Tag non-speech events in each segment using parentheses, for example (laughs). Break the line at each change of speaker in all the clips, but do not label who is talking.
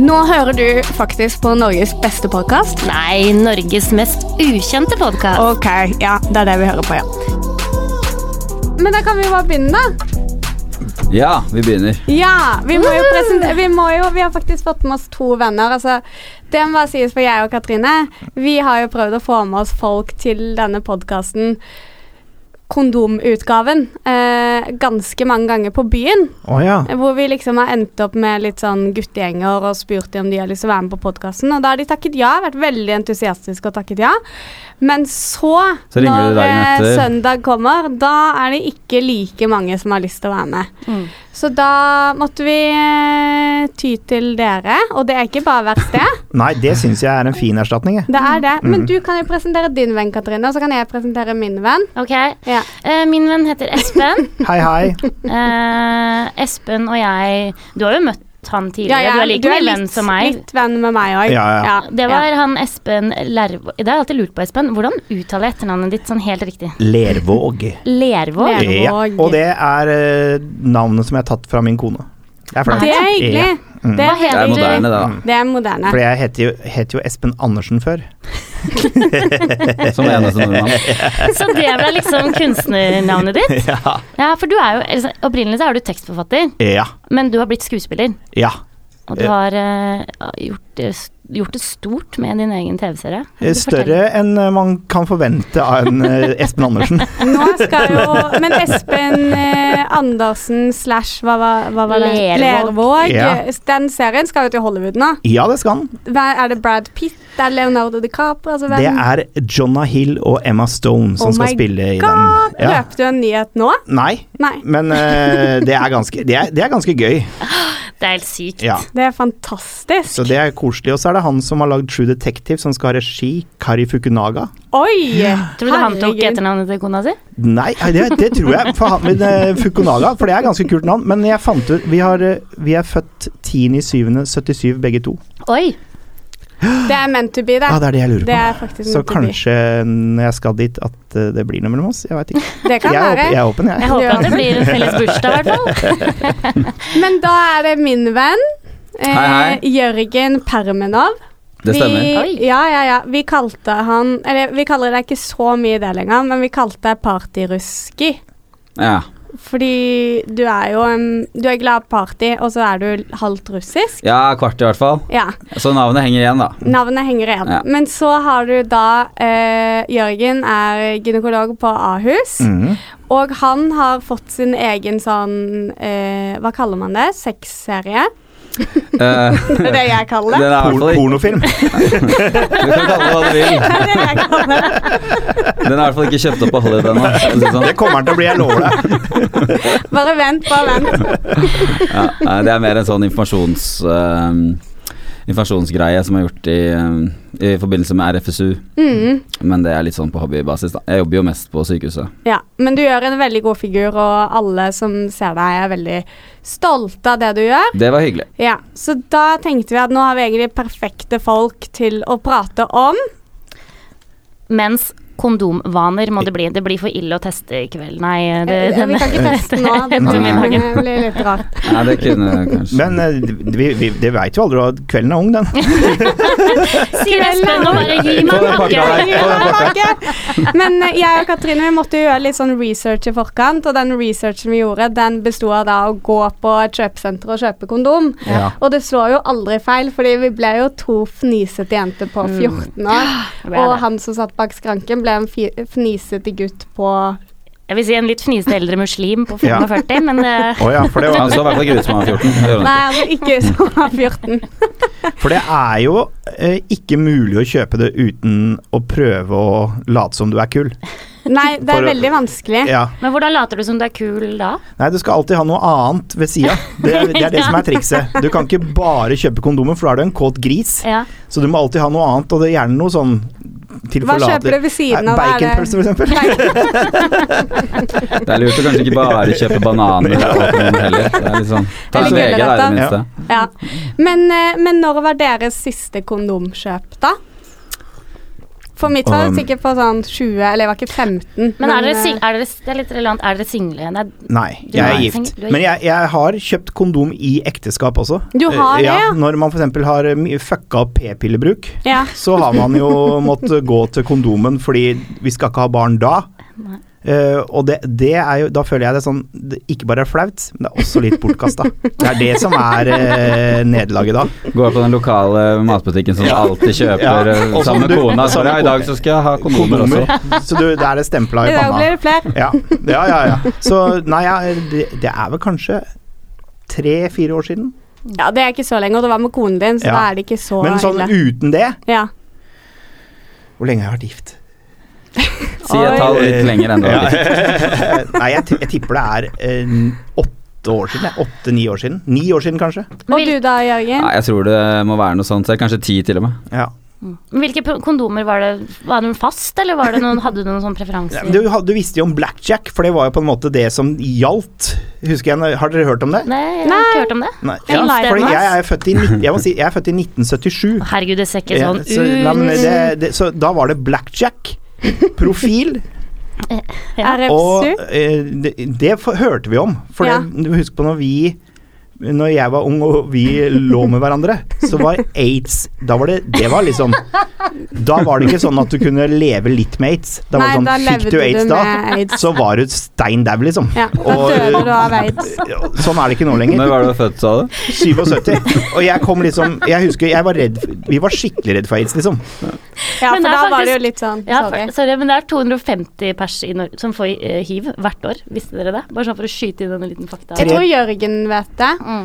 Nå hører du faktisk på Norges beste podkast.
Nei, Norges mest ukjente podkast.
Ok, ja, det er det vi hører på, ja. Men da kan vi jo bare begynne, da.
Ja, vi begynner.
Ja, Vi må jo presentere Vi, må jo, vi har faktisk fått med oss to venner. Altså, det må bare sies for jeg og Katrine. Vi har jo prøvd å få med oss folk til denne podkasten. Kondomutgaven eh, ganske mange ganger på byen.
Å ja.
Hvor vi liksom har endt opp med litt sånn guttegjenger og spurt de om de har lyst til å være med på podkasten. Og da har de takket ja, vært veldig entusiastiske og takket ja. Men så,
Så ringer du
når
dagen
eh,
etter.
søndag kommer, da er det ikke like mange som har lyst til å være med.
Mm.
Så da måtte vi eh, ty til dere, og det er ikke bare hvert sted.
Nei, det syns jeg er en fin erstatning. Jeg.
Det er det.
Mm.
Men du kan jo presentere din venn, Katrine, og så kan jeg presentere min venn.
Ok,
Ja.
Eh, Min venn heter Espen.
Hei, hei.
Eh, Espen og jeg Du har jo møtt han tidligere.
Ja, jeg-
du er like mye venn som meg.
litt venn med meg òg.
Ja, ja.
Det var han Espen Lervåg Det har jeg alltid lurt på, Espen. Hvordan uttaler jeg etternavnet ditt sånn helt riktig?
Lervåg.
Lervåg?
Ler- Lervåg.
Ja. Og det er eh, navnet som jeg har tatt fra min kone. Det er flaut.
Det er hyggelig.
Ja. Mm.
Det
Hva
er
heter
Det er
du?
moderne, da.
Det er moderne.
For jeg het jo, het jo Espen Andersen før.
Som eneste nordmann.
(laughs) Så det ble liksom kunstnernavnet ditt?
Ja.
Ja, for du er jo altså, Opprinnelig så er du tekstforfatter,
Ja.
men du har blitt skuespiller.
ja.
Og du
Ja.
har eh, gjort, det, gjort det stort med din egen TV-serie. Kan du fortelle?
Større enn eh, man kan forvente av en
(laughs)
eh, Espen Andersen.
Nå skal jo Men Espen eh, Andersen slash hva, var- hva var det?
Lervåg.
Lervåg.
Ja.
Den serien skal jo til Hollywood nå.
Ja, det skal han.
Hva- Er det Brad Pitt? Er det Leonardo DiCaprio? Altså, hvem?
Det er Jonah Hill og Emma Stone som
Oh my
skal spille i
God!
den. Ja.
Løp du en nyhet nå?
Nei,
Nei.
men eh, det, er ganske, det, er, det er ganske gøy.
Det er helt sykt.
Ja.
Det er fantastisk.
Så det er koselig. Og så er det han som har lagd True Detective, som skal ha regi. Kari Fukunaga.
Oi!
Tror du han tok
Herregud.
etternavnet til kona si?
Nei, det, det tror jeg. For han, men, eh, Fukunaga, for det er ganske kult navn. Men jeg fant ut Vi, har, eh, vi er født 10.7.77 begge to.
Oi!
Det er meant to be, det.
Ja, det er det jeg lurer
Det
på.
er faktisk
Så
meant to be.
kanskje når jeg skal dit, at eh, det blir noe mellom oss. Jeg veit ikke.
Det kan
Jeg er, åpen, jeg
være.
er åpen, jeg.
Jeg håper at det blir en
(laughs)
felles bursdag, i hvert fall.
Men da er det min venn. eh,
Hei, hei.
Jørgen Permenov.
Det stemmer.
Oi.
Vi, ja, ja, ja. Vi kalte han Eller vi kaller det ikke så mye det lenger, men vi kalte det partyruski.
Ja.
Fordi du er jo en Du er glad i party, og så er du halvt russisk.
ja, kvart i hvert fall.
Ja.
Så navnet henger igjen, da.
Navnet henger igjen.
Ja.
Men så har du da eh, Jørgen er gynekolog på Ahus,
Mm.
Mhm.
og han har fått sin egen sånn eh, Hva kaller man det? Sexserie?
Eh,
Det er det jeg kaller
den er
det.
i hvert
Por
fall ikke
pornofilm.
(laughs) Du kan kalle (laughs) det hva du vil.
(laughs) Det er det jeg kaller det.
Den er i hvert fall ikke kjøpt opp av Hollywood ennå. for å si det
Det
Sånn.
kommer han til å bli, jeg lover deg.
Bare vent, bare
(laughs)
vent.
Ja, nei, det er mer en sånn informasjons, ehm, informasjonsgreie som er gjort i, ehm, i forbindelse med RFSU.
Mm.
Men det er litt sånn på hobbybasis. da Jeg jobber jo mest på sykehuset.
Ja, men du gjør en veldig god figur, og alle som ser deg, er veldig stolte av det du gjør.
Det var hyggelig.
Ja, Så da tenkte vi at nå har vi egentlig perfekte folk til å prate om.
Mens kondomvaner må det bli. Det blir for ille å teste i kveld. Nei, det,
Eh, Vi
denne
kan ikke teste nå. Det
Nei.
blir, det blir litt
(laughs)
rart.
Nei, det kunne kanskje
Men eh, vi, vi, det veit jo aldri, og kvelden er ung, den.
(laughs) Sier Espen nå, bare gi
Få
meg
den
en
pakka
pakke.
der. Få
(laughs)
den pakka.
Men eh, jeg og Katrine vi måtte jo gjøre litt sånn research i forkant, og den researchen vi gjorde, den besto av da å gå på et kjøpesenter og kjøpe kondom.
Ja.
Og det slår jo aldri feil, fordi vi ble jo to fnisete jenter på 14 år.
Det er
Og
det.
han som satt bak skranken, ble en fi- fnisete gutt på
Jeg vil si en litt fnisete eldre muslim på
Ja.
45, men eh,
Å ja, for det, var,
Han så i hvert fall ikke ut som han var 14. Det gjorde
Nei,
han ikke.
altså ikke som var 14.
for det er jo eh, ikke mulig å kjøpe det uten å prøve å late som du er kul.
Nei, det
For-
er veldig vanskelig.
Ja.
Men hvordan later du som du er kul da?
Nei, du skal alltid ha noe annet ved sida. Det, er- det er det som er trikset. Du kan ikke bare kjøpe kondomer, for da er du en kåt gris.
Ja.
Så du må alltid ha noe annet, og det er gjerne noe sånn
Hva kjøper du ved siden av? Hva er det?
Baconpølse, for eksempel.
Det er lurt å kanskje ikke bare kjøpe bananer og kondom heller. Det er litt sånn Ta
Eller
en VG, da, i det
gulrøtter.
minste.
Ja. Men, eh, men når var deres siste kondomkjøp, da? For mitt
Um,
var det sikkert på sånn 20, eller jeg var ikke 15.
Men er dere,
eh,
sing- er dere, det er litt relevant, er dere single? Nei,
Nei,
Du
jeg
er
er gift.
singel, du er
Men jeg, jeg har kjøpt kondom i ekteskap også.
Du har
Eh,
det,
ja?
ja?
Når man f.eks. har eh, mye fucka opp p-pillebruk,
Ja.
så har man jo måttet gå til kondomen fordi vi skal ikke ha barn da.
Nei.
Eh, og det, det er jo Da føler jeg det sånn det Ikke bare er flaut, men det er også litt bortkasta. Det er det som er eh, nederlaget da.
Går på den lokale matbutikken som alltid
Ja.
kjøper eh,
Og som
sammen med
du-
kona. Så
sammen
ja,
med
i dag så skal jeg ha kondomer også.
Så du, det er det stempla
I
i
dag
panna.
blir det flere.
Ja, ja, ja. ja. Så nei, ja, det, det er vel kanskje tre-fire år siden.
Ja, det er ikke så lenge, og det var med konen din, så
Ja.
da er det ikke så
Men sånn
ille.
uten det
Ja.
Hvor lenge har jeg vært gift?
Si et tall litt lenger enn det. var ditt.
(laughs) Nei, jeg, ti- jeg tipper det er eh, åtte år siden. det. Åtte-ni år siden. Ni år siden, kanskje.
Og du da, Jørgen?
Nei, jeg tror det må være noe sånt. så Kanskje ti, til og med.
Ja.
mm. Hvilke p- kondomer var det? Var det noen fast, eller var det noen, hadde du noen sånn preferanser?
Du, had- du visste jo om blackjack, for det var jo på en måte det som gjaldt. Husker jeg, Har dere hørt om det?
Nei, jeg har ikke hørt om det.
Nei.
Ja,
Fordi
stemmer.
jeg er født i, nitt- jeg må si, jeg er født i 1977.
Herregud, det ser ikke
Ja,
sånn ut.
så, nei, men det,
uh.
det, så da var det blackjack, profil
(laughs)
Ja.
RFSU?
Og eh, det, det f- hørte vi om. For
Ja.
det, du husker på når vi Når jeg var ung og vi lå med hverandre, så var aids Da var det Det var liksom Da var det ikke sånn at du kunne leve litt med aids. Da
Nei,
var det sånn
da
Fikk
levde
du aids
du
da,
med aids.
(laughs) så var du stein dau, liksom.
Ja, da
Og-
døde du av aids.
Sånn er det ikke nå lenger.
Når var det du var født, sa du?
77. Og jeg kom liksom Jeg husker jeg var redd for- Vi var skikkelig redd for aids, liksom.
Ja, for
Men det er
da var det
faktisk-
jo litt sånn
Ja,
Sorry.
for, sorry, men det er 250 pers i Norge som får eh, hiv hvert år. Visste dere det? Bare sånn for å skyte inn en liten fakta.
Jeg tror Jørgen vet det.
Mm.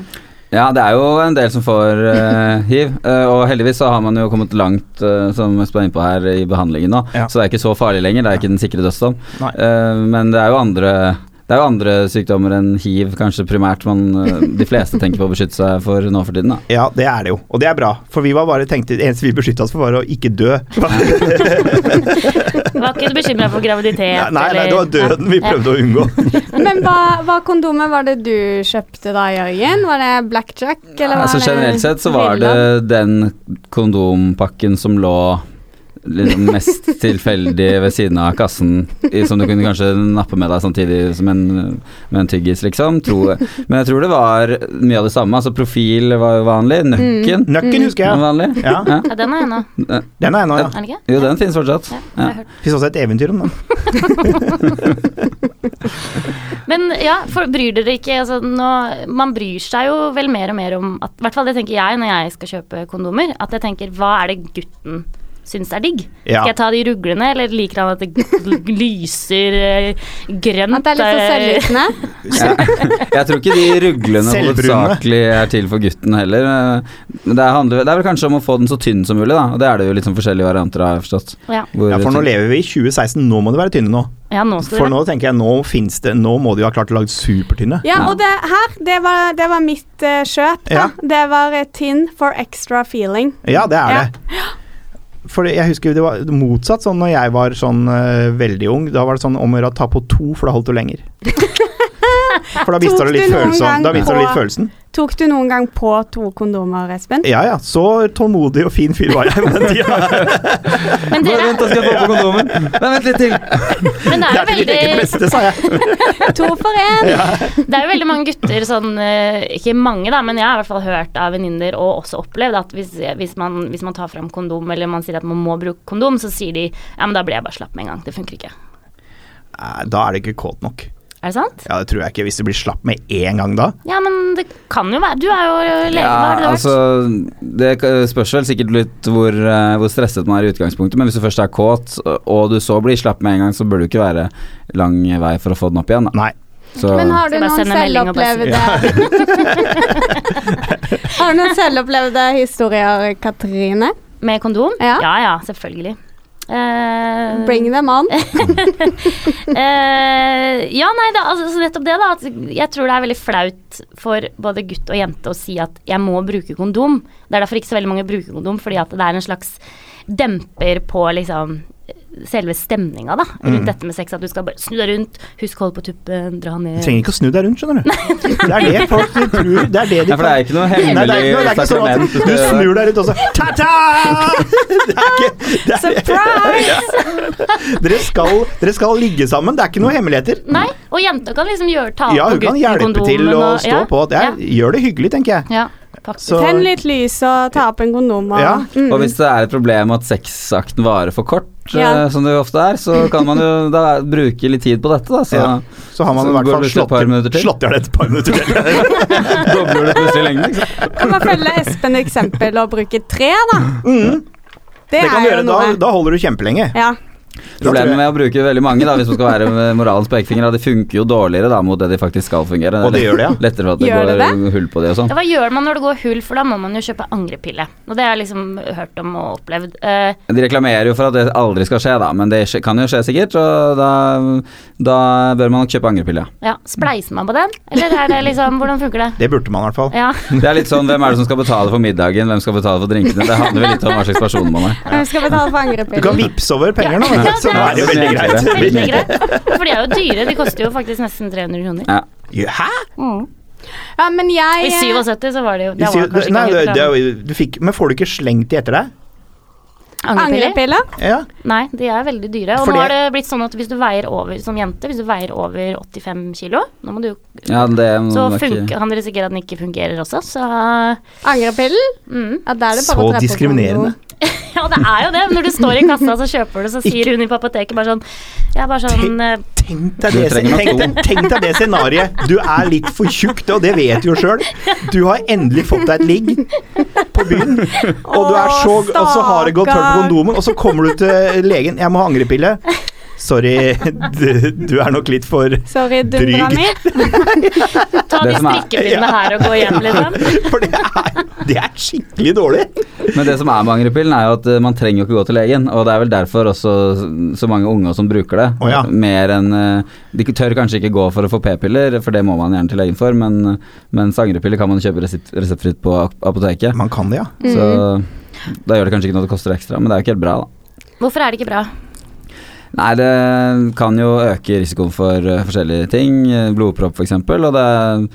Ja, det er jo en del som får eh,
(laughs)
hiv. eh, og heldigvis så har man jo kommet langt, eh, som Espen er inne på her, i behandlingen nå.
Ja.
Så det er ikke så farlig lenger. Det er ikke den sikre dødsdom.
Nei.
Eh, men det er jo andre det er jo andre sykdommer enn hiv, kanskje primært, man eh, de fleste tenker på å beskytte seg for nå for tiden. da
Ja, det er det jo. Og det er bra. For vi var bare tenkte Det eneste vi beskytta oss for, var å ikke
(laughs)
dø.
Var ikke bekymra for
Nei,
graviditet
nei, nei, det var døden vi prøvde å unngå.
Men hva, hva kondomet var det du kjøpte da, Jørgen? Var det blackjack, eller var
Altså
det
Generelt sett så var det den kondompakken som lå liksom
(laughs)
mest tilfeldig ved siden av kassen, i- som du kunne kanskje nappe med deg samtidig som en, med en tyggis, liksom. Tro, men jeg tror det var mye av det samme. Altså Profil var jo vanlig.
Mm.
Nøkken
Mm.
Nøkken husker
var
jeg.
vanlig.
Ja,
Ja.
Ja, den er jeg nå.
Den er jeg nå, ja.
Er den ikke?
Jo, den finnes fortsatt.
Ja, jeg
Ja.
har hørt.
Det Fins også et eventyr om den.
Men ja, for, bryr dere ikke altså, nå, Man bryr seg jo vel mer og mer om at, I hvert fall det tenker jeg når jeg skal kjøpe kondomer. At jeg tenker hva er det gutten syns er digg?
Ja.
Skal jeg ta de ruglene, eller liker han at det gl- lyser eh, grønt?
At det er litt sånn
eh,
selvlysende?
Jeg tror ikke de ruglene
Selvbrune.
hovedsakelig er til for gutten heller. Men Det, handler, det er vel kanskje om å få den så tynn som mulig, da. Og det er det jo liksom forskjellige varianter av, har jeg forstått.
Ja.
Hvor
Ja, for nå
tynn-
lever vi i 2016, nå må det være tynne nå.
ja, nå
For
skal dere
nå tenker jeg, nå finnes det Nå må de jo ha klart å lage supertynne.
Ja, og det her, det var, det var mitt eh, kjøp, da.
Ja.
Det var eh, tin for extra feeling.
Ja, det er det. For jeg husker det var motsatt sånn når jeg var sånn eh, veldig ung. Da var det sånn om å gjøre å ta på to, for da holdt du lenger. For da mista
Tok
du litt
du noen gang
følelsen. Da mista du
på-
litt følelsen.
Tok du noen gang på to kondomer, Espen?
Ja ja, så tålmodig og fin fyr var jeg på den tida.
Men dere
Bare Vent, da skal jeg få på kondomen. Nei, vent litt til.
Men det
Det
er
er
jo
til ditt eget
veldig,
beste, sa jeg.
To for
(laughs)
én!
det er jo veldig mange gutter sånn eh, Ikke mange, da, men jeg har i hvert fall hørt av venninner og også opplevd at hvis, hvis, man, hvis man tar fram kondom, eller man sier at man må bruke kondom, så sier de ja, men da blir jeg bare slapp med en gang. Det funker ikke.
Nei, Eh, Da er det ikke kåt nok.
Er det sant?
Ja, det tror jeg ikke. Hvis du blir slapp med én gang da.
Ja, men det kan jo være Du er jo lege, hva har du vært?
Ja, altså, det k- spørs vel sikkert litt hvor, eh, hvor stresset man er i utgangspunktet, men hvis du først er kåt, og du så blir slapp med en gang, så burde det ikke være lang vei for å få den opp igjen. Da.
Nei.
Så,
Men har du
Skal bare
noen
sende melding og bare si-
selvopplevde (laughs) Har du noen selvopplevde historier, Katrine?
Med kondom?
Ja.
ja, selvfølgelig. Eh,
Bring them on.
eh, ja, nei, da, altså, så nettopp det, da. At jeg tror det er veldig flaut for både gutt og jente å si at jeg må bruke kondom. Det er derfor ikke så veldig mange bruker kondom, fordi at det er en slags demper på liksom selve stemninga da, rundt
Mm.
dette med sex. At du skal bare snu deg rundt, husk å holde på tuppen, dra
Du
ned
trenger ikke å snu deg rundt, skjønner du. Det er det folk de tror Det er det de
Ja, for det er ikke noe
Nei, det er,
hemmelig
ikke- det er ikke sånn
sakrament.
at du snur
(laughs)
deg rundt og så Ta-ta! (laughs) Det er ikke det er,
(laughs) Surprise!
dere, skal, dere skal ligge sammen, det er ikke noe hemmeligheter.
Nei, og jenta kan liksom gjøre ta
Ja,
på
hun kan
gutten
hjelpe
kondomen
til å
og-
stå
ja,
på. Det er, gjør det hyggelig, tenker jeg.
Ja, ja faktisk.
Så-
Tenn litt lys og ta opp en kondom. Og,
Ja.
Mm.
Og hvis det er et problem at sexakten varer for kort,
Ja.
eh, som det jo ofte er, så kan man jo da bruke litt tid på dette, da. Så
Ja. Så har man
Så
i hvert
går
fall
det til et
slått
par minutter til.
slått i hjel et par minutter til.
(laughs) dobler det plutselig lengden, ikke sant.
Kan man følge Espen eksempel og bruke tre, da? Det,
Mm. Det kan
er
du
jo
gjøre,
noe.
da, da holder du kjempelenge.
Ja.
Da tror
Problemet
jeg-
med å bruke veldig mange, da, hvis man skal være med moralens pekefinger, da, det funker jo dårligere da mot det de faktisk skal fungere.
Og det gjør det, ja.
Lettere for at det
Gjør det
går hull på det og sånn.
Ja, hva gjør man når det går hull, for da må man jo kjøpe angrepille. Og det har jeg liksom hørt om og opplevd. Eh,
De reklamerer jo for at det aldri skal skje, da, men det skje- kan jo skje sikkert, og da, da bør man nok kjøpe angrepille. ja.
ja, Spleiser man på den, eller er det liksom Hvordan funker det?
Det burde man i hvert fall. (laughs)
Ja.
Det er litt sånn hvem er det som skal betale for middagen, hvem skal betale for drinkene? Det handler vel litt om hva slags person man er.
Hvem skal betale for
Du kan
angrepiller?
vippse over penger, da.
Ja,
Så da er det jo
det
veldig
er
greit.
enklere.
Veldig greit. For de er jo dyre. De koster jo faktisk nesten 300 kroner.
Ja.
Ja, Hæ?
Mm.
Ja, men jeg
I 77 så var det jo
Du
Det var
sier,
kanskje
nei,
ikke
det, det,
angrepille.
er jo- du fikk, men får du ikke slengt de etter deg?
eh,
Angrepiller?
Angrepiller?
Ja.
Nei, de er veldig dyre. Og
For
nå
det-
har det blitt sånn at hvis du veier over som jente, hvis du veier over 85 kilo, nå må du, jo-
Ja, det
Mm,
må
så
nok-
funker, kan det risikere at den ikke fungerer også. Så
Angrepillen?
mm.
Ja, da er det bare
Så
å tre på kondom.
diskriminerende.
Ja, det er jo det. Når du står i kassa, så kjøper du, så sier hun i på apoteket bare sånn Ja, bare sånn eh,
Tenk deg,
Du
det,
trenger nok
tenk, deg, tenk deg det scenariet. Du er litt for tjukk, og det vet du jo sjøl. Du har endelig fått deg et ligg på byen, og, du er så, og så har det gått tørt på
stakkar.
kondomen, og så kommer du til legen 'Jeg må ha angrepille'. Sorry, du, du er nok litt for
Sorry, dundra
Dryg.
mi.
eh, Ta
Det
de
som er-
strikkepinnene her og gå hjem, liksom.
For det er, det er skikkelig dårlig.
Men det som er med angrepillen, er jo at eh, man trenger jo ikke gå til legen. Og det er vel derfor også så mange unge som bruker det.
Å ja.
Mer enn eh, De tør kanskje ikke gå for å få p-piller, for det må man gjerne til legen for, men mens angrepiller kan man kjøpe resept, reseptfritt på ap- apoteket.
Man kan det, ja.
Så da gjør det kanskje ikke noe at det koster ekstra, men det er jo ikke helt bra, da.
Hvorfor er det ikke bra?
Nei, det kan jo øke risikoen for eh, forskjellige ting, eh, blodpropp f.eks., og det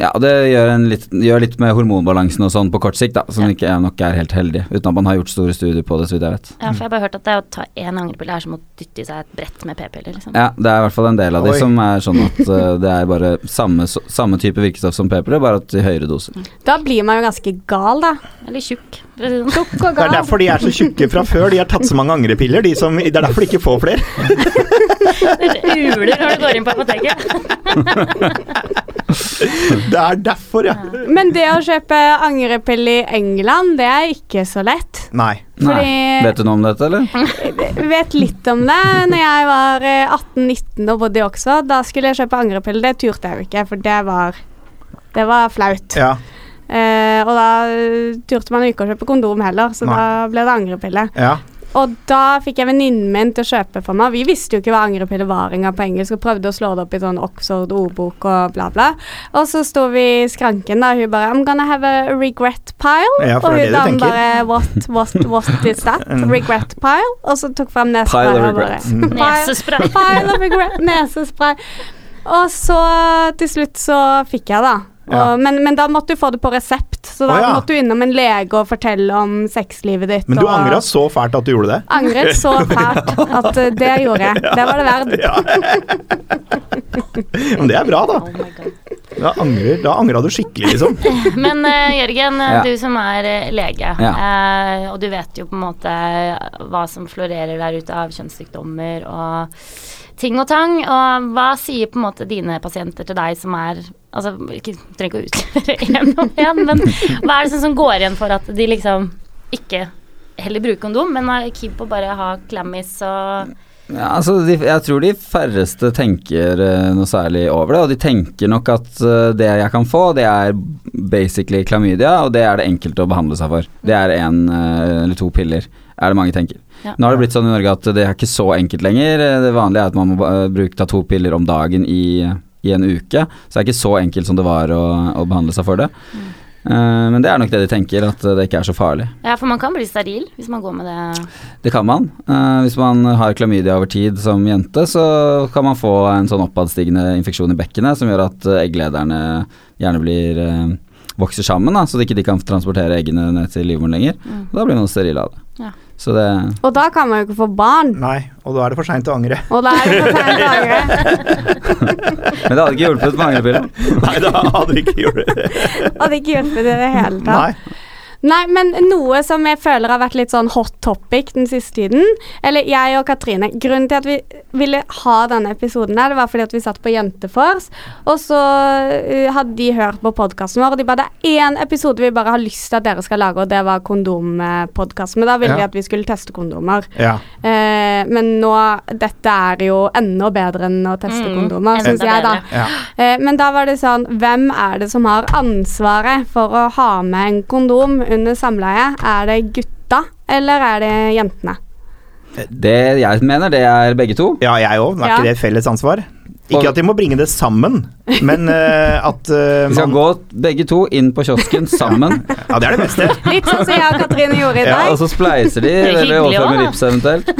ja, og det gjør, en litt, gjør litt med hormonbalansen og sånn på kort sikt, da, som
Ja.
ikke er nok er helt heldig, uten at man har gjort store studier på det, så vidt jeg vet.
Ja, for jeg har bare hørt at det å ta én angrepille er som å dytte i seg et brett med p-piller, liksom.
Ja, det er i hvert fall en del av de
Oi.
som er sånn at eh, det er bare samme, så- samme type virkestoff som p-piller, bare at i høyere doser.
Da blir man jo ganske gal, da.
Eller tjukk, for å si det sånn.
Tjukk og
Det er
gal.
derfor de er så tjukke fra før. De har tatt så mange angrepiller. De som, det er derfor de ikke får flere.
Det sånn. (laughs) uler når du går inn på apoteket.
Det er derfor, ja.
Men det å kjøpe angrepille i England, det er ikke så lett.
Nei.
Nei.
Fordi-
Vet du noe om dette, eller?
Jeg vet litt om det. Når jeg var eh, 18-19 og bodde i Oxford, da skulle jeg kjøpe angrepille. Det turte jeg jo ikke, for det var, det var flaut.
Ja,
Eh, og da eh, turte man jo ikke å kjøpe kondom heller, så
Nei.
da ble det angrepille.
ja.
Og da fikk jeg venninnen min til å kjøpe for meg. Vi visste jo ikke hva angrepille var engang på engelsk, og prøvde å slå det opp i sånn Oxford ordbok og bla, bla. Og så sto vi i skranken, da, og hun bare I'm gonna have a regret pile.
Ja, for
og
det er
hun
det du
damen
tenker. Mm.
bare What, what, what is
(laughs)
that? Regret pile? Og så tok fram nesespray.
Pile
og
of
bare-
regrets.
Pile-
Nesespray.
Pile of regret. Nesespray. Og så til slutt så fikk jeg det. Og,
Ja.
men, men da måtte du få det på resept, så da
Å, ja.
måtte du innom en lege og fortelle om sexlivet ditt.
Men du
og-
angra så fælt at du gjorde det.
angret
(laughs)
så fælt at eh, det gjorde jeg. Det var det verdt.
Ja. Men det er bra, da.
Oh my God.
Da, angrer, da angra du skikkelig, liksom.
Men eh, Jørgen, eh,
Ja.
du som er eh, lege, eh, og du vet jo på en måte eh, hva som florerer der ute av kjønnssykdommer og ting og tang. Og hva sier på en måte dine pasienter til deg som er Altså, ikke, du trenger ikke å (laughs) utlevere én og én, men hva er det som- som går igjen for at de liksom ikke heller bruker kondom, men er keen på bare å ha klammis og
Ja, altså, de, jeg tror de færreste tenker eh, noe særlig over det, og de tenker nok at eh, det jeg kan få, det er basically klamydia, og det er det enkelte å behandle seg for. Det er én eller to piller, er det mange tenker.
Ja.
Nå har det blitt sånn i Norge at det er ikke så enkelt lenger. Eh, Det vanlige er at man må ba- eh, bruke ta to piller om dagen i, i en uke, så det er ikke så enkelt som det var å, å behandle seg for det. Eh, men det er nok det de tenker, at eh, det ikke er så farlig.
Ja, for man kan bli steril hvis man går med det.
Det kan man. Eh, hvis man har klamydia over tid som jente, så kan man få en sånn oppadstigende infeksjon i bekkenet som gjør at eh, egglederne gjerne blir eh, vokser sammen, da, så de ikke de kan transportere eggene ned til livmoren lenger.
Mm.
Og da blir man steril av det.
Ja.
Så det
Og da kan man jo ikke få barn.
Nei, og da er det for seint å angre.
Og da er det for
(laughs)
seint å angre.
Men det hadde ikke hjulpet med angrepiller.
(laughs) Nei, da hadde vi ikke gjort (laughs) det.
Og det ikke hjulpet i det hele tatt.
Nei.
Nei, men noe som jeg føler har vært litt sånn hot topic den siste tiden Eller jeg og Katrine. Grunnen til at vi ville ha denne episoden her, det var fordi at vi satt på Jentefors, og så eh, hadde de hørt på podkasten vår, og de bare Det er én episode vi bare har lyst til at dere skal lage, og det var kondompodkasten. Men da ville
Ja.
vi at vi skulle teste kondomer.
Ja.
Eh, men nå Dette er jo enda bedre enn å teste
Mm,
kondomer,
enda
syns jeg, da.
bedre.
ja.
Eh, Men da var det sånn Hvem er det som har ansvaret for å ha med en kondom under samleie? Er det gutta, eller er det jentene?
Det jeg mener, det er begge to.
Ja, jeg òg. Er
Ja.
ikke det et felles ansvar? Ikke
Og-
at de må bringe det sammen, men eh, at eh,
Vi skal
man
gå begge to inn på kiosken sammen,
Ja, det er det beste.
Litt sånn som jeg og Katrine gjorde i
(laughs) Ja,
dag.
og så spleiser de
er
eller
hyggelig
overfører med
også,
vips eventuelt.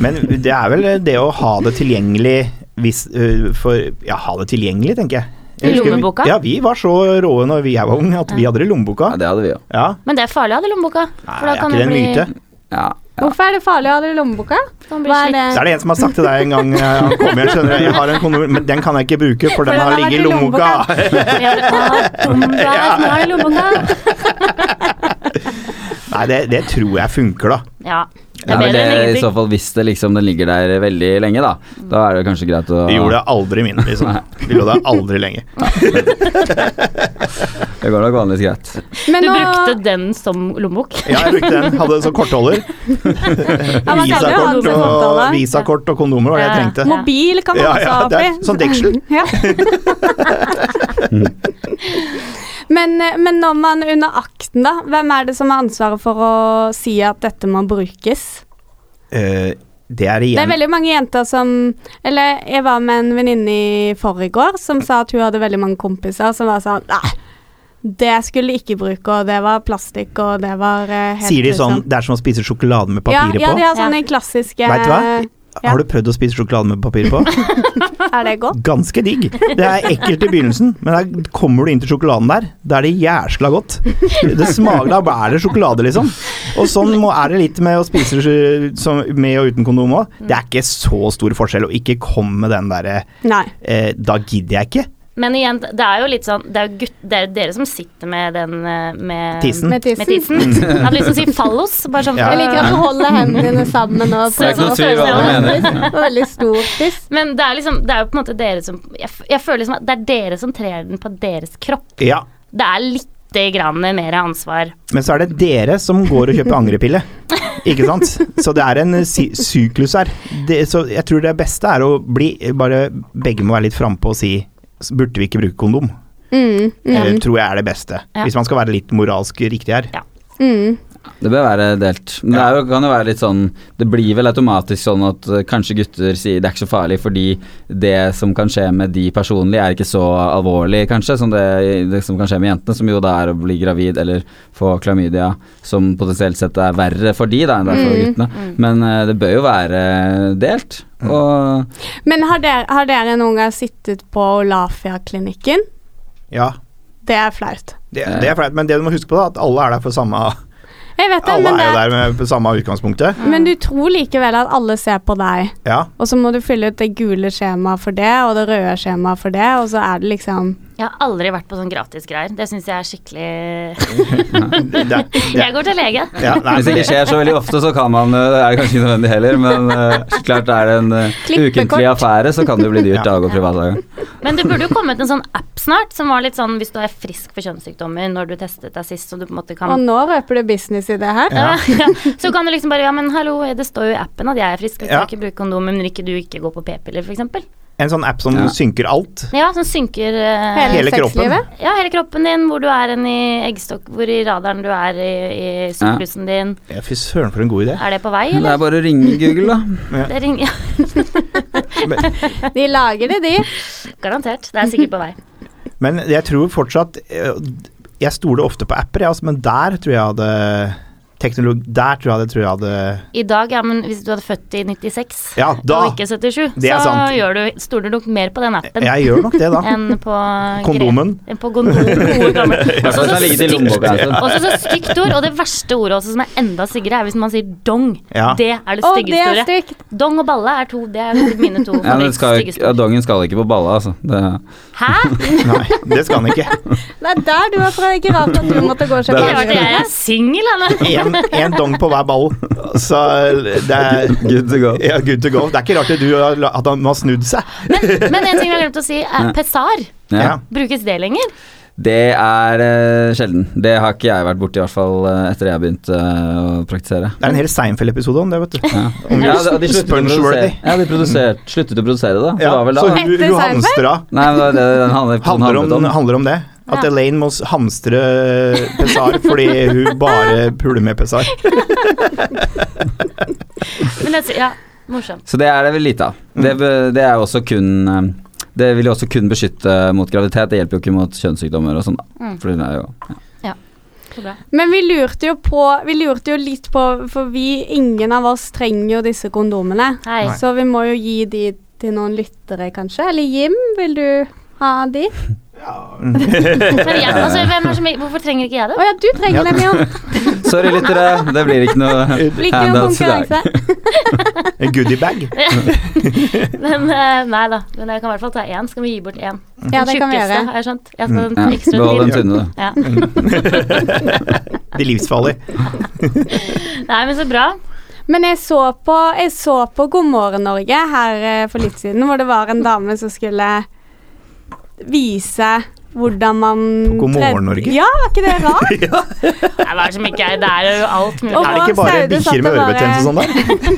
Men det er vel det å ha det tilgjengelig hvis øh, For ja, ha det tilgjengelig, tenker jeg.
I
Jeg husker vi-
lommeboka?
Ja, vi var så råe når vi var unge at vi hadde det i lommeboka.
Ja, det hadde vi òg.
Ja.
Men det er farlig å ha det i lommeboka.
Nei,
For da
er
kan
ikke det en
bli,
Ja.
myte?
Ja.
Hvorfor er det farlig å ha det i lommeboka?
Kan bli
Hva er
slitt.
det?
Så er det en som har sagt til deg en gang øh, Han kom igjen, skjønner du. Jeg har en kondom, men den kan jeg ikke bruke, for den har
vært
ligget i lommeboka.
(laughs) Ja, det- Å, dum du er som har det i lommeboka.
Nei, det, det tror jeg funker, da.
Ja. Det
Ja,
er
men
bedre enn
det, I så
ingenting.
fall hvis det liksom, den ligger der veldig lenge, da. Da er det kanskje greit å
Det gjorde det aldri min, liksom. Det lå der aldri lenge.
Det går nok vanligvis greit.
Men
Du
nå-
brukte den som lommebok.
Ja, jeg brukte den. Hadde den som kortholder.
ja, man kan jo ha det
Visakort
som
og,
kortholder.
visakort og kondomer var det jeg
Ja.
trengte.
Mobil kan man
Ja,
også
ja,
ha
det er
oppi.
sånn deksel.
Ja.
(laughs)
men, eh, men når man under akten, da, hvem er det som har ansvaret for å si at dette må brukes?
Eh, det er
Det er
igjen
veldig mange jenter som Eller jeg var med en venninne i forrige som sa at hun hadde veldig mange kompiser som var sånn Nei, det skulle jeg ikke bruke, og det var plastikk, og det var eh, helt
Sier de sånn
grusomt.»
Det er som å spise sjokolade med
ja,
papiret
ja, de
på.
har sånne klassiske
Vet du hva?
ja.
Har du prøvd å spise sjokolade med papir
(laughs)
på?
Er det godt?
Ganske digg. Det er ekkelt i begynnelsen, men der kommer du inn til sjokoladen der. Da er det jæsla godt. Det smaker Da er det sjokolade, liksom. Og sånn må, er det litt med å spise sj- som, med og uten kondom òg. Det er ikke så stor forskjell å ikke komme med den derre
Nei.
eh, Da gidder jeg ikke.
(laughs) Men igjen, det er jo litt sånn Det er jo gutt, det er dere som sitter med den eh, med
Tissen.
Med tissen.
Med tissen.
(laughs)
Jeg hadde lyst til å si fallos. Bare sånn
Ja.
Jeg liker at du holder hendene dine sammen og
Det er ikke noe
prøver å
tvil hva du
holde
mener.
hendene. Veldig stor tiss.
Men det er, liksom, det er jo på en måte dere som jeg, f- jeg føler liksom at det er dere som trer den på deres kropp.
Ja.
Det er lite grann mer ansvar.
Men så er det dere som går og kjøper angrepille. Ikke sant? Så det er en sy syklus her. Det, så jeg tror det beste er å bli Bare begge må være litt frampå og si "S- Burde vi ikke bruke kondom?
Mm,
Eh,
mm,
tror jeg er det beste.
Ja.
Hvis man skal være litt moralsk riktig her.
mm.
Det bør være delt. Men det er jo, kan jo være litt sånn Det blir vel automatisk sånn at eh, kanskje gutter sier det er ikke så farlig fordi det som kan skje med de personlig, er ikke så alvorlig, kanskje, som det, det som kan skje med jentene, som jo da er å bli gravid eller få klamydia, som potensielt sett er verre for de da enn det er for
Mm.
guttene. Men eh, det bør jo være delt.
Mm.
Og
Men har dere, har dere noen gang sittet på Olafia-klinikken?
Ja,
Det er flaut.
det, det er flaut. Men det du må huske på, da, at alle er der for samme
Jeg vet det,
Alle
men,
er jo
det
der med på samme utgangspunktet.
men du tror likevel at alle ser på deg.
Ja.
Og så må du fylle ut det gule skjemaet for det, og det røde skjemaet for det, og så er det liksom
Jeg har aldri vært på sånn gratisgreier. Det syns jeg er skikkelig (laughs)
Det, det,
Jeg går til lege.
(laughs)
ja nei,
hvis det ikke skjer så veldig ofte, så kan man eh, Det er kanskje ikke nødvendig heller, men eh, klart er det en eh,
Klippekort.
ukentlig affære, så kan det jo bli dyrt
Ja.
da å gå privatlager.
Men det burde jo kommet en sånn app snart, som var litt sånn hvis du er frisk for kjønnssykdommer når du testet deg sist, så du på en måte
Og
kan
nå røper du business i det her.
Ja.
(laughs) Ja, Så kan du liksom bare Ja, men hallo, det står jo i appen at jeg er frisk. Jeg skal
Ja.
ikke bruke kondom, men ikke du ikke går på p-piller, f.eks.
En sånn app som
Ja.
synker alt.
Ja, som synker eh,
Hele kroppen.
sexlivet.
Ja, hele kroppen din, hvor du er hen i eggstokk, hvor i radaren du er i, i syklusen din.
Ja, Fy søren, for en god idé.
Er det på vei,
Det
eller?
er bare å ringe Google, da.
Det ringer, ja,
De lager det, de.
garantert. Det er sikkert på vei.
Men jeg tror fortsatt eh, Jeg stoler ofte på apper, jeg, altså, men der tror jeg hadde teknologi, Der tror jeg det tror jeg hadde
I dag, ja, men hvis du hadde født i 96
Ja, da!
og ikke 77,
Det er
så
sant.
gjør du, stoler du nok mer på den appen
Jeg gjør nok det, da.
enn på
Kondomen.
gre- Enn på kondom. (laughs) Gode gamle.
hvert fall hvis den sånn
(laughs)
ligger i lommeboka. altså.
Og så så stygt ord, og det verste ordet også som er enda styggere, er hvis man sier dong.
Ja.
Det er det
Å, det
styggeste
er
ordet.
stygt.
Dong og balle er to, det er mine to
(laughs) Ja, men det skal, jo ikke-
styggeste
ja,
ord.
dongen skal ikke på balla, altså. (laughs) Det,
Hæ?
Nei, det skal han ikke.
Det er der du er fra. Ikke rart at du måtte gå og
Det
kjøpe
er rart at jeg er singel,
(laughs)
Anne.
Én dong på hver ball. Så det er
good to go.
ja, good to go. Det er ikke rart at, du, har la- at han har snudd seg.
Men, men en ting vi har glemt å si, er pesar.
Ja.
Ja.
Brukes det lenger?
Det er eh, sjelden. Det har ikke jeg vært borti, i hvert fall eh, etter jeg begynte eh, å praktisere.
Det er en hel Seinfeld-episode om det, vet du.
Ja,
Om
ja de, de sluttet å produsere.
Sponge-worthy.
Ja, de produserte, sluttet å produsere det, da. Det
Ja,
var vel da.
så
da.
Ru-
Etter
Ru
Seinfeld?
Hamstra
Nei, det var det den handlet,
handler om,
handlet om.
handler om det. At
Ja.
Elaine må s- hamstre Pesar fordi hun bare puler med Pesar.
Men jeg, ja, morsomt.
Så det er det vel lite av. Det, be- det er jo også kun eh, Det vil jo også kun beskytte mot graviditet. Det hjelper jo ikke mot kjønnssykdommer og sånn, da.
Mm,
For det er jo
så bra.
Men vi lurte jo på Vi lurte jo litt på For vi, ingen av oss trenger jo disse kondomene.
Hei.
Nei.
Så vi må jo gi de til noen lyttere, kanskje. Eller Jim, vil du ha de?
(laughs)
mm.
Men jeg, altså, hvem er som, hvorfor trenger ikke jeg
Å
det?
ja, du
Ja.
trenger dem
(laughs)
jo.
Sorry, lyttere. Det blir ikke noe
(laughs)
(laughs)
Blir ikke noen
handouts i dag.
konkurranse.
(laughs) En
(laughs)
goodiebag.
Men eh, nei da. Men jeg kan i hvert fall ta én. Skal vi gi bort én?
Ja, det kan vi
Tjukkeste,
gjøre.
har jeg skjønt. Jeg
Sånn
skal ha
Mm. Ja,
den ekstra
Behold den
til.
tynne, du.
Ja.
De livsfarlige.
Nei, men så bra.
Men jeg så på, jeg så på God morgen Norge her eh, for litt siden, hvor det var en dame som skulle vise hvordan man
På God morgen Norge?
Ja, var ikke det rart?
(laughs)
Nei, hva er det som ikke er Det er jo alt mulig.
Og
Er det ikke
Sau,
bare
det satt
bikkjer med
og bare-
ørebetennelse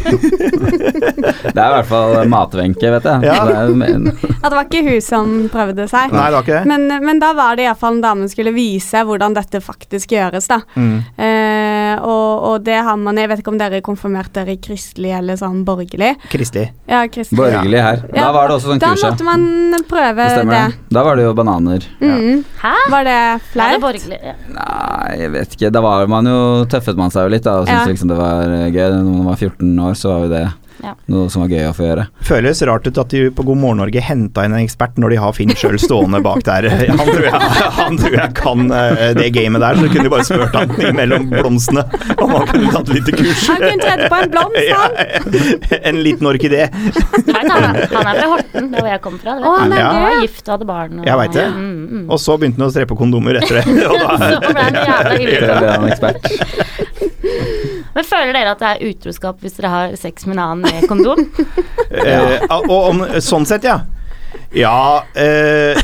(laughs)
og sånn der?
Det er i hvert fall eh, matvenke, vet jeg.
Ja.
Det er, men,
At det var ikke hun som prøvde seg.
Nei, det var ikke det.
Men, men da var det iallfall en dame som skulle vise hvordan dette faktisk gjøres, da.
Mm.
Eh, og, og det har man Jeg vet ikke om dere konfirmerte dere i kristelig eller sånn borgerlig.
Kristelig.
Ja, kristelig.
borgerlig her. Da
Ja,
var det også sånn
Da
kurs, ja.
måtte man prøve
Det
det.
stemmer det. Da var det jo bananer.
Mm.
Hæ?
Var det
Nei, det er
flaut?
borgerlig. Ja.
Nei, jeg vet ikke. Da var man jo tøffet man seg jo litt, da. Og syntes
Ja.
liksom det var eh, gøy. Når man var 14 år, så var jo det
Ja.
noe som var gøy å få gjøre.
Føles rart ut at de på God morgen Norge henta inn en ekspert når de har Finn sjøl stående bak der. Han tror jeg, han tror jeg kan eh, det gamet der, så kunne de bare spurt han mellom blomstene om han kunne tatt litt kurs.
Han kunne tredd på en
(laughs)
blomst,
Ja,
han.
en liten orkidé.
Du vet, han, er- han er fra Horten, der hvor jeg kommer fra. det vet
Å,
du.
han er
Ja.
Han
gøy.
var
ja.
gift og hadde barn. Og,
Jeg vet det.
Mm, mm.
Og så begynte han å strepe kondomer etter det. Og da,
(laughs) Så ble han jævla
Det
ille.
ble han ekspert.
Men føler dere at det er utroskap hvis dere har sex med en annen med kondom?
Eh, og om, sånn sett, ja. Ja eh,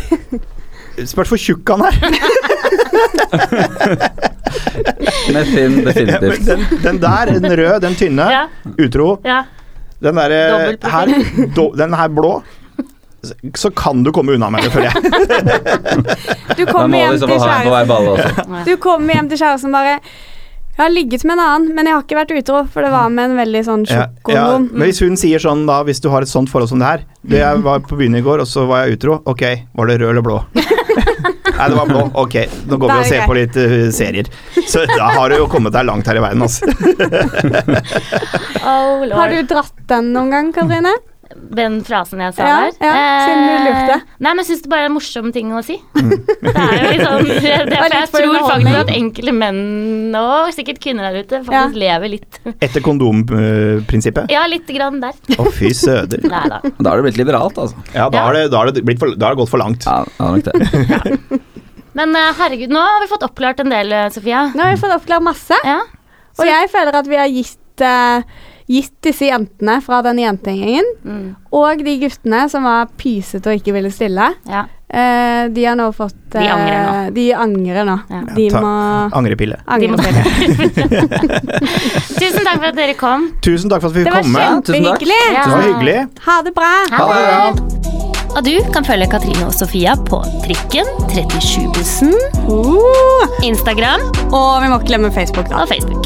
Spørs hvor tjukk han er.
Med Finn,
Ja, men
definitivt.
Den, den der, den røde, den tynne,
Ja,
utro.
ja.
Den derre
Dobbelt på
her, do, den her blå. Så, så kan du komme unna med det, føler jeg.
Du
Da
kommer
må du
hjem
i så
til
fall ha en på
kjæresten
hver balle også.
Du kommer hjem til kjæresten bare Jeg har ligget med en annen, men jeg har ikke vært utro, for det var med en veldig sånn
Ja,
tjukk
ja,
kondom.
men hvis hun sier sånn da, hvis du har et sånt forhold som det her det Jeg var på byen i går, og så var jeg utro. Ok, var det rød eller blå? Nei, det var blå. Ok, nå går
Da er
vi og
det
ser på litt eh, serier. Så da har du jo kommet deg langt her i verden, altså.
Oh, lord.
Har du dratt den noen gang, Katrine?
den frasen jeg sa
Ja,
der?
ja, siden du lurte.
Eh, Nei, men jeg syns det bare er en morsom ting å si.
Mm.
(laughs) Det er jo
(laughs)
liksom det, er
Det var litt
derfor Jeg
for
tror faktisk
underholdning.
at enkelte menn, og sikkert kvinner der ute,
Ja.
faktisk lever litt
Etter kondomprinsippet.
Ja, litt grann der.
Å, fy søder.
Nei da.
(laughs) Da har det blitt liberalt, altså.
Ja, da har det, da har det, blitt for, da har det gått for langt.
Ja, det var nok det.
Men eh, herregud, nå har vi fått oppklart en del, eh, Sofia.
Nå har vi fått oppklart masse,
Ja.
og jeg føler at vi har gitt, eh, gitt disse jentene fra den jentegjengen,
Mm,
og de guttene som var pysete og ikke ville stille,
ja.
eh, de har nå fått
De angrer
eh, De angrer nå.
Ja. Ja,
De
ta-
må
Angrepille.
De må
angre.
(laughs) Tusen takk for at dere kom.
Tusen takk for at vi
Det
fikk
var
komme.
Tusen takk.
kjempehyggelig.
Ja.
Det var hyggelig.
Ha det bra.
Ha det.
bra.
Og du kan følge Katrine og Sofia på trikken, 37-bussen,
Uh,
Instagram
og vi må ikke glemme Facebook, da.
og Facebook.